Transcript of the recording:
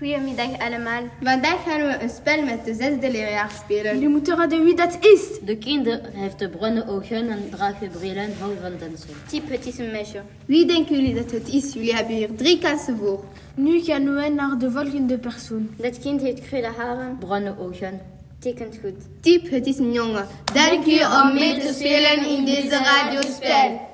Goedemiddag allemaal. Vandaag gaan we een spel met de zesde leerjaar spelen. Jullie moeten raden wie dat is. De kinder heeft bruine ogen en draagt brillen en houdt van dansen. Type het is een meisje. Wie denken jullie dat het is? Jullie hebben hier drie kansen voor. Nu gaan we naar de volgende persoon. Dat kind heeft krulle haren. Bruine ogen. Tekent goed. Typ, het is een jongen. Dank u om mee te spelen in deze radiospel.